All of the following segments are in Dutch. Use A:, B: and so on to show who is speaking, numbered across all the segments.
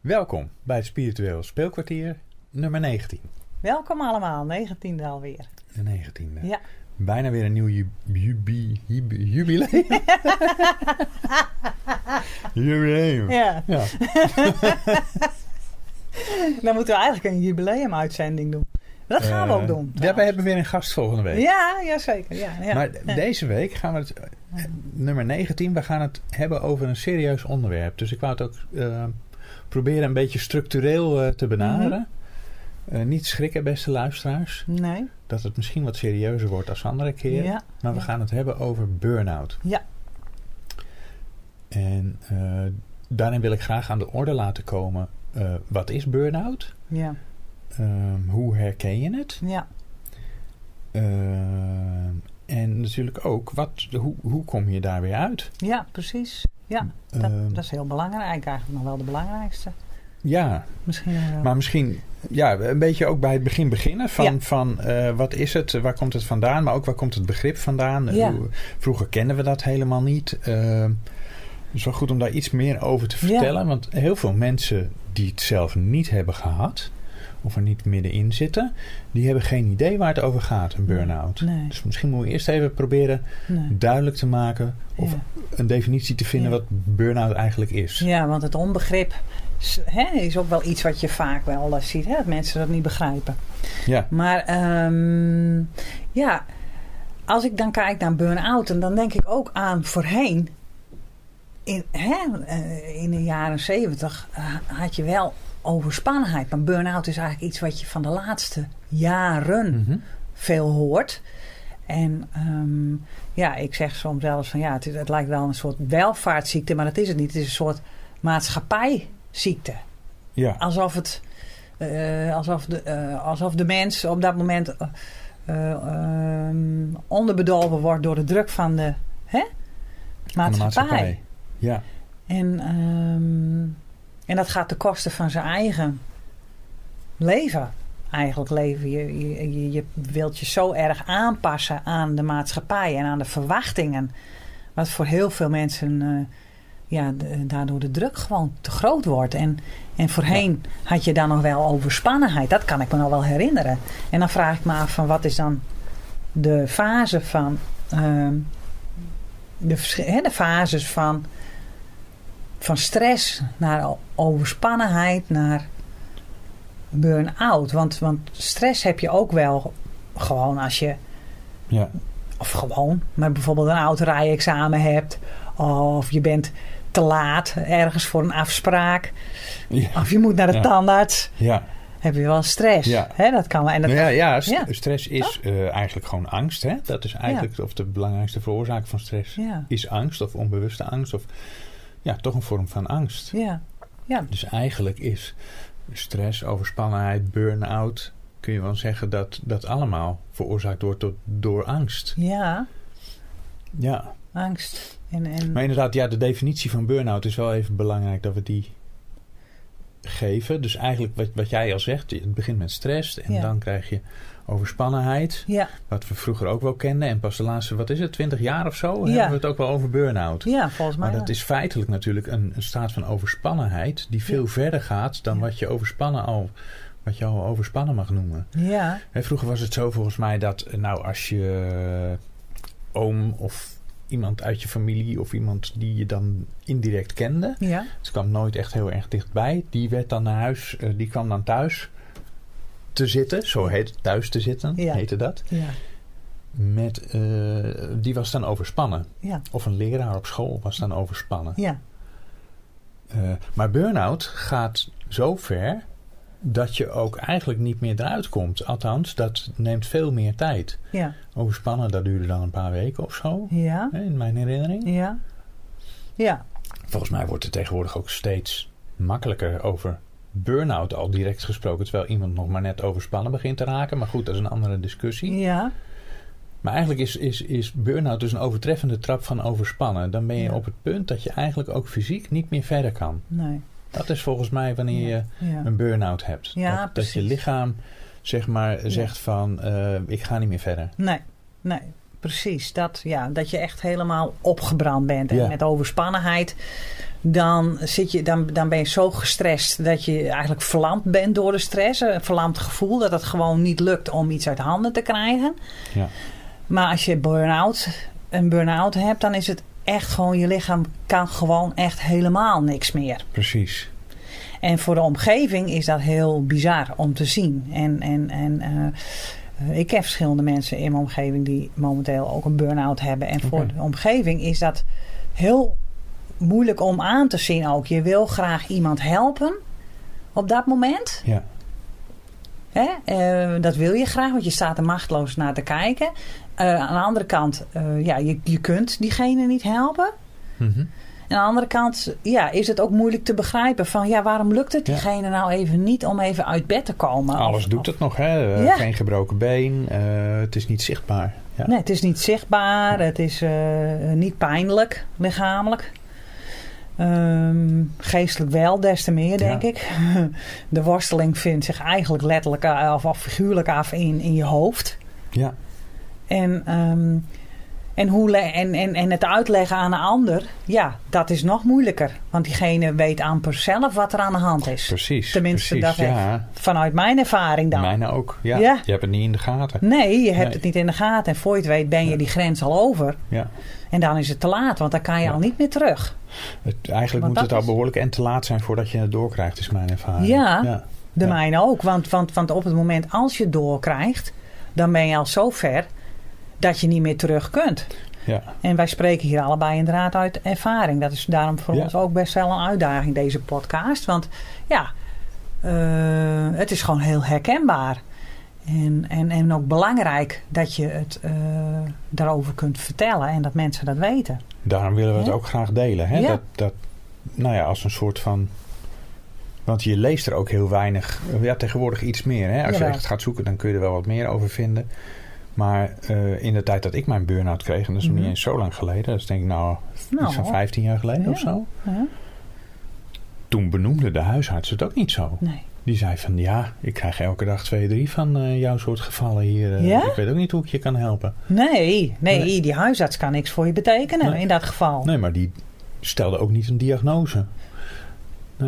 A: Welkom bij het Spiritueel Speelkwartier nummer 19.
B: Welkom allemaal, 19e alweer.
A: De 19e.
B: Ja.
A: Bijna weer een nieuw ju- jubi- jubi- jubileum. jubileum.
B: Ja,
A: Ja.
B: dan moeten we eigenlijk een jubileumuitzending doen. Maar dat gaan we
A: Eh,
B: ook doen.
A: Ja, we hebben weer een gast volgende week.
B: Ja, ja, zeker. Ja, ja.
A: Maar deze week gaan we het, eh, nummer 19, we gaan het hebben over een serieus onderwerp. Dus ik wou het ook eh, proberen een beetje structureel eh, te benaderen.
B: Mhm.
A: Eh, niet schrikken, beste luisteraars,
B: Nee.
A: dat het misschien wat serieuzer wordt als andere keren.
B: Ja.
A: Maar Nou, we
B: Ja.
A: gaan het hebben over burn-out.
B: Ja.
A: En eh, daarin wil ik graag aan de orde laten komen. eh, wat is burn-out?
B: Ja.
A: Ehm, hoe herken je het?
B: Ja.
A: Ehm, en natuurlijk ook, wat, hoe, hoe kom je daar weer uit?
B: ja, precies. Ja, dat,
A: Ehm,
B: dat is heel belangrijk. Eigenlijk nog wel de belangrijkste.
A: ja,
B: Misschien eh, wel.
A: maar misschien ja, een beetje ook bij het begin beginnen. Van,
B: Ja.
A: van eh, wat is het, waar komt het vandaan? Maar ook waar komt het begrip vandaan?
B: Ja.
A: Hoe- Vroeger kenden we dat helemaal niet. Ehm het is wel goed om daar iets meer over te
B: Ja.
A: vertellen. Want heel veel mensen die het zelf niet hebben gehad... of er niet middenin zitten... die hebben geen idee waar het over gaat, een burn-out.
B: Nee,
A: Dus misschien moeten we eerst even proberen
B: nee.
A: duidelijk te maken... of
B: Ja.
A: een definitie te vinden
B: Ja.
A: wat burn-out eigenlijk is.
B: Ja, want het onbegrip is, hè, is ook wel iets wat je vaak wel eh, ziet. Hè, dat mensen dat niet begrijpen.
A: Ja.
B: Maar ehm, ja, als ik dan kijk naar burn-out, en dan denk ik ook aan voorheen. In, hè, eh, in de jaren zeventig eh, had je wel overspannenheid. Maar burn-out is eigenlijk iets wat je van de laatste jaren
A: Mhm.
B: veel hoort. En ehm, ja, ik zeg soms zelfs van ja, het, is- het lijkt wel een soort welvaartsziekte, maar dat is het niet. Het is een soort maatschappijziekte
A: ja.
B: alsof het. eh, alsof, de, eh, alsof de mens op dat moment eh, eh, ehm, onderbedolven wordt door de druk van de, hè?
A: Van de
B: maatschappij.
A: Ja.
B: En, ehm, en dat gaat ten koste van zijn eigen leven. Eigenlijk leven. Je, je, je- je wilt je zo erg aanpassen aan de maatschappij en aan de verwachtingen. Wat voor heel veel mensen eh, ja, de- daardoor de druk gewoon te groot wordt. En, en voorheen had je daar nog wel overspannenheid. Dat kan ik me nog wel herinneren. En dan vraag ik me af van wat is dan de fase van... ehm, de, vers- hè, de fases van van stress naar o- overspannenheid naar burn-out. Want, want stress heb je ook wel gewoon als je,
A: Ja.
B: of gewoon, maar bijvoorbeeld een oud rijexamen hebt. Of je bent te laat ergens voor een afspraak.
A: Ja.
B: Of je moet naar de
A: Ja.
B: tandarts.
A: Ja.
B: Heb je wel stress.
A: Ja.
B: Hè, dat kan wel. En dat,
A: Nou ja, ja, st-
B: ja.
A: stress is eh, eigenlijk gewoon angst. Hè? Dat is eigenlijk of de belangrijkste veroorzaak van stress.
B: ja.
A: Is angst of onbewuste angst of ja, toch een vorm van angst.
B: Ja.
A: Dus eigenlijk is stress, overspannenheid, burn-out, kun je wel zeggen dat dat allemaal veroorzaakt wordt door, door angst.
B: ja,
A: Ja,
B: angst. En, en,
A: maar inderdaad, ja, de definitie van burn-out is wel even belangrijk dat we die geven. Dus eigenlijk wat, wat jij al zegt, het begint met stress en
B: Ja.
A: dan krijg je overspannenheid.
B: ja,
A: Wat we vroeger ook wel kenden. En pas de laatste, wat is het, 20 jaar of zo, hebben
B: Ja.
A: we het ook wel over burn-out.
B: ja, volgens mij.
A: Maar dat
B: wel.
A: is feitelijk natuurlijk een, een staat van overspannenheid die veel verder gaat dan
B: Ja.
A: wat je overspannen al. Wat je al overspannen mag noemen.
B: Ja,
A: Hè, vroeger was het zo volgens mij dat, eh, nou, als je eh, oom of iemand uit je familie of iemand die je dan indirect kende,
B: ja,
A: het kwam nooit echt heel erg dichtbij, die werd dan naar huis, eh, die kwam dan thuis te zitten, zo heet het, thuis te zitten,
B: Ja.
A: heette dat.
B: ja,
A: Met, eh, die was dan overspannen.
B: ja,
A: Of een leraar op school was dan overspannen.
B: ja.
A: Eh, maar burn-out gaat zo ver dat je ook eigenlijk niet meer eruit komt. Althans, dat neemt veel meer tijd.
B: Ja,
A: Overspannen, dat duurde dan een paar weken of zo.
B: ja,
A: hè, In mijn herinnering.
B: ja. Ja,
A: Volgens mij wordt er tegenwoordig ook steeds makkelijker over burn-out al direct gesproken. Terwijl iemand nog maar net overspannen begint te raken. Maar goed, dat is een andere discussie.
B: Ja,
A: Maar eigenlijk is, is, is burn-out dus een overtreffende trap van overspannen. Dan ben je
B: Ja.
A: op het punt dat je eigenlijk ook fysiek niet meer verder kan.
B: nee.
A: Dat is volgens mij wanneer je
B: Ja,
A: een burn-out hebt.
B: Ja,
A: dat, dat je
B: precies.
A: lichaam zeg maar zegt van eh, ik ga niet meer verder.
B: nee, nee. Precies, dat, ja, dat je echt helemaal opgebrand bent. En
A: Ja.
B: met overspannenheid dan, zit je, dan, dan ben je zo gestrest dat je eigenlijk verlamd bent door de stress. Een verlamd gevoel dat het gewoon niet lukt om iets uit handen te krijgen.
A: Ja.
B: Maar als je burn-out, een burn-out hebt, dan is het echt gewoon, je lichaam kan gewoon echt helemaal niks meer.
A: Precies.
B: En voor de omgeving is dat heel bizar om te zien. En, en, en eh, ik ken verschillende mensen in mijn omgeving die momenteel ook een burn-out hebben. En voor
A: Oké.
B: de omgeving is dat heel moeilijk om aan te zien ook. Je wil graag iemand helpen op dat moment.
A: Ja.
B: Hè? Eh, dat wil je graag, want je staat er machteloos naar te kijken. Eh, aan de andere kant, eh, ja, je, je kunt diegene niet helpen.
A: Mhm.
B: En aan de andere kant ja, is het ook moeilijk te begrijpen van ja, waarom lukt het
A: Ja.
B: diegene nou even niet om even uit bed te komen?
A: Alles
B: Of-
A: doet
B: of-
A: het nog, hè? Eh,
B: Oh. Ja.
A: Geen gebroken been, eh, het is niet zichtbaar. Ja.
B: Nee, het is niet zichtbaar, het is eh, niet pijnlijk lichamelijk. Ehm, geestelijk wel, des te meer denk
A: Ja.
B: ik. De worsteling vindt zich eigenlijk letterlijk eh, of, of figuurlijk af in, in je hoofd.
A: Ja.
B: En, ehm, en, hoe le- en, en, en het uitleggen aan een ander, ja, dat is nog moeilijker. Want diegene weet amper zelf wat er aan de hand is.
A: Precies.
B: Tenminste,
A: precies,
B: dat
A: ja.
B: Vanuit mijn ervaring dan.
A: Mijne ook. Ja.
B: Ja.
A: Je hebt het niet in de gaten.
B: Nee, je hebt
A: Nee.
B: het niet in de gaten. En voor je het weet ben je
A: Ja.
B: die grens al over.
A: Ja.
B: En dan is het te laat, want dan kan je
A: Ja.
B: al niet meer terug.
A: Het, eigenlijk
B: Want
A: moet het
B: dat
A: al
B: is-
A: behoorlijk en te laat zijn voordat je het doorkrijgt, is mijn ervaring.
B: Ja.
A: ja.
B: De
A: Ja.
B: mijne ook. Want, want, want op het moment als je het doorkrijgt, dan ben je al zo ver dat je niet meer terug kunt.
A: Ja.
B: En wij spreken hier allebei inderdaad uit ervaring. Dat is daarom voor
A: Ja.
B: ons ook best wel een uitdaging, deze podcast. Want ja, eh, het is gewoon heel herkenbaar. En, en, en ook belangrijk dat je het eh, daarover kunt vertellen en dat mensen dat weten.
A: Daarom willen we het
B: Hè?
A: ook graag delen. Hè?
B: Ja.
A: Dat, dat, nou ja, als een soort van. Want je leest er ook heel weinig. Ja, tegenwoordig iets meer. Hè? Als
B: Jawel.
A: je echt gaat zoeken, dan kun je er wel wat meer over vinden. Maar eh, in de tijd dat ik mijn burn-out kreeg, en dat is nog
B: Mhm.
A: niet eens zo lang geleden, dat is denk ik nou,
B: Nou,
A: iets van 15 jaar geleden
B: Ja.
A: of zo.
B: hè?
A: Toen benoemde de huisarts het ook niet zo.
B: nee.
A: Die zei van ja, ik krijg elke dag twee, drie van eh, jouw soort gevallen hier. eh,
B: Ja?
A: Ik weet ook niet hoe ik je kan helpen.
B: Nee, nee,
A: Nee.
B: die huisarts kan niks voor je betekenen
A: Nee.
B: in dat geval. Nee,
A: Nee, maar die stelde ook niet een diagnose.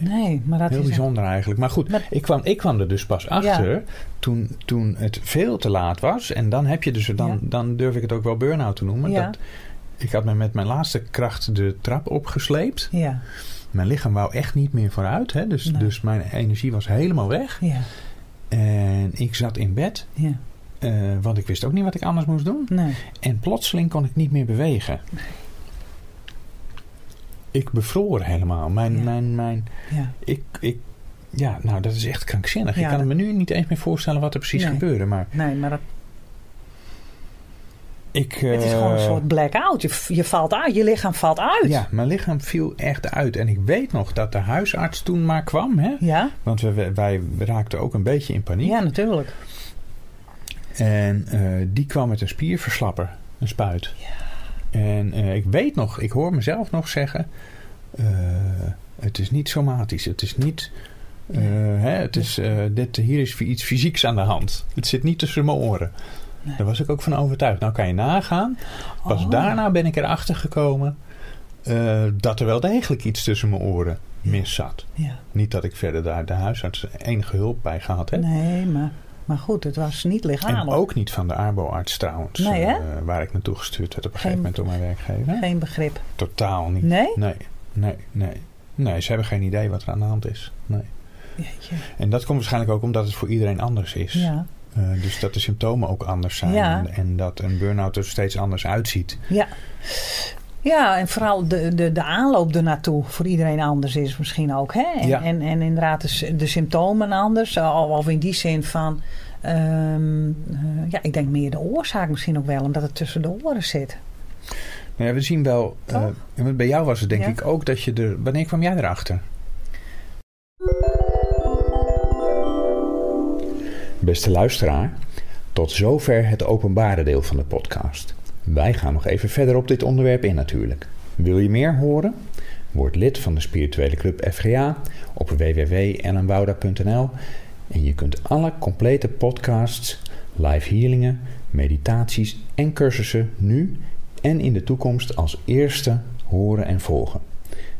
A: Nee.
B: maar dat
A: Heel
B: is...
A: bijzonder eigenlijk. Maar goed,
B: Maar-
A: ik, kwam, ik kwam er dus pas achter toen, toen het veel te laat was. En dan heb je dus, dan,
B: Ja.
A: dan durf ik het ook wel burn-out te noemen.
B: Ja.
A: Dat, ik had me met mijn laatste kracht de trap opgesleept.
B: Ja,
A: Mijn lichaam wou echt niet meer vooruit. Hè? Dus,
B: Nee.
A: dus mijn energie was helemaal weg.
B: ja,
A: En ik zat in bed,
B: ja.
A: eh, want ik wist ook niet wat ik anders moest doen.
B: Nee.
A: En plotseling kon ik niet meer bewegen. Ik bevroor helemaal. Mijn,
B: Ja.
A: mijn, mijn,
B: Ja.
A: ik, ik, ja, nou, dat is echt krankzinnig.
B: Ja,
A: ik kan
B: dat-
A: me nu niet eens meer voorstellen wat er precies
B: Nee.
A: gebeurde. Maar
B: nee, maar dat,
A: ik.
B: het is
A: eh,
B: gewoon een soort blackout. Je, je valt uit, je lichaam valt uit.
A: Ja, mijn lichaam viel echt uit. En ik weet nog dat de huisarts toen maar kwam. Hè?
B: Ja,
A: Want we- we, wij raakten ook een beetje in paniek.
B: ja natuurlijk.
A: En eh, die kwam met een spierverslapper, een spuit. En eh, ik weet nog, ik hoor mezelf nog zeggen: eh, het is niet somatisch, het is niet. eh,
B: Nee.
A: hè, het is, eh, dit, hier is iets fysieks aan de hand. Het zit niet tussen mijn oren.
B: Nee.
A: Daar was ik ook van overtuigd. Nou kan je nagaan. Pas
B: Oh.
A: daarna ben ik erachter gekomen eh, dat er wel degelijk iets tussen mijn oren mis zat.
B: Ja.
A: Niet dat ik verder daar de huisarts enige hulp bij gehad heb.
B: Nee, maar, maar goed, het was niet
A: En
B: lichamelijk.
A: ook niet van de Arbo-arts trouwens.
B: Nee, hè?
A: eh, waar ik naartoe gestuurd werd op een
B: Geen-
A: gegeven moment door mijn werkgever.
B: Geen begrip.
A: Totaal niet.
B: Nee?
A: Nee, nee, nee. Nee, ze hebben geen idee wat er aan de hand is. Nee.
B: Jeetje.
A: En dat komt waarschijnlijk ook omdat het voor iedereen anders is.
B: Ja.
A: Eh, dus dat de symptomen ook anders zijn.
B: Ja.
A: En, en dat een burn-out er steeds anders uitziet.
B: Ja, en vooral de, de, de aanloop ernaartoe voor iedereen anders is misschien ook. Hè? En,
A: Ja.
B: en, en inderdaad de, s- de symptomen anders. Al, of in die zin van, ehm, eh, ja, ik denk meer de oorzaak misschien ook wel. Omdat het tussen de oren zit.
A: Nou ja, we zien wel... eh,
B: Toch?
A: want bij jou was het denk
B: Ja.
A: ik ook dat je er... Wanneer kwam jij erachter? Beste luisteraar, tot zover het openbare deel van de podcast. Wij gaan nog even verder op dit onderwerp in natuurlijk. Wil je meer horen? Word lid van de spirituele club FGA op www.ellenwouda.nl en je kunt alle complete podcasts, live healingen, meditaties en cursussen nu en in de toekomst als eerste horen en volgen.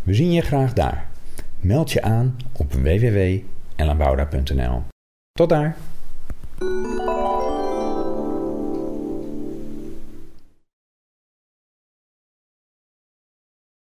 A: We zien je graag daar. Meld je aan op www.ellenbouda.nl. Tot daar!